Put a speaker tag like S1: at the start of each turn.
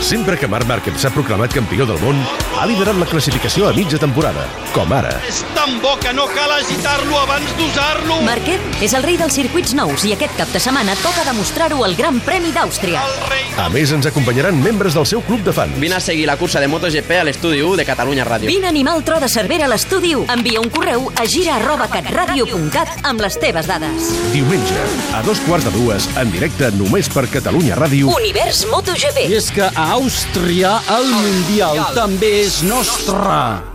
S1: Sempre que Marc Márquez s'ha proclamat campió del món, ha liderat la classificació a mitja temporada, com ara.
S2: És tan bo que no cal agitar-lo abans d'usar-lo.
S3: Márquez és el rei dels circuits nous i aquest cap de setmana toca demostrar-ho al Gran Premi d'Àustria.
S2: El rei
S1: A més, ens acompanyaran membres del seu club de fans.
S4: Vine a seguir la cursa de MotoGP a l'estudi 1 de Catalunya Ràdio.
S3: Vine a animar el tro de Cervera a l'estudi. Envia un correu a gira.catradio.cat amb les teves dades.
S1: Diumenge, a dos quarts de dues, en directe només per Catalunya Ràdio.
S3: Univers MotoGP.
S5: I és que a Àustria el Mundial també és nostre.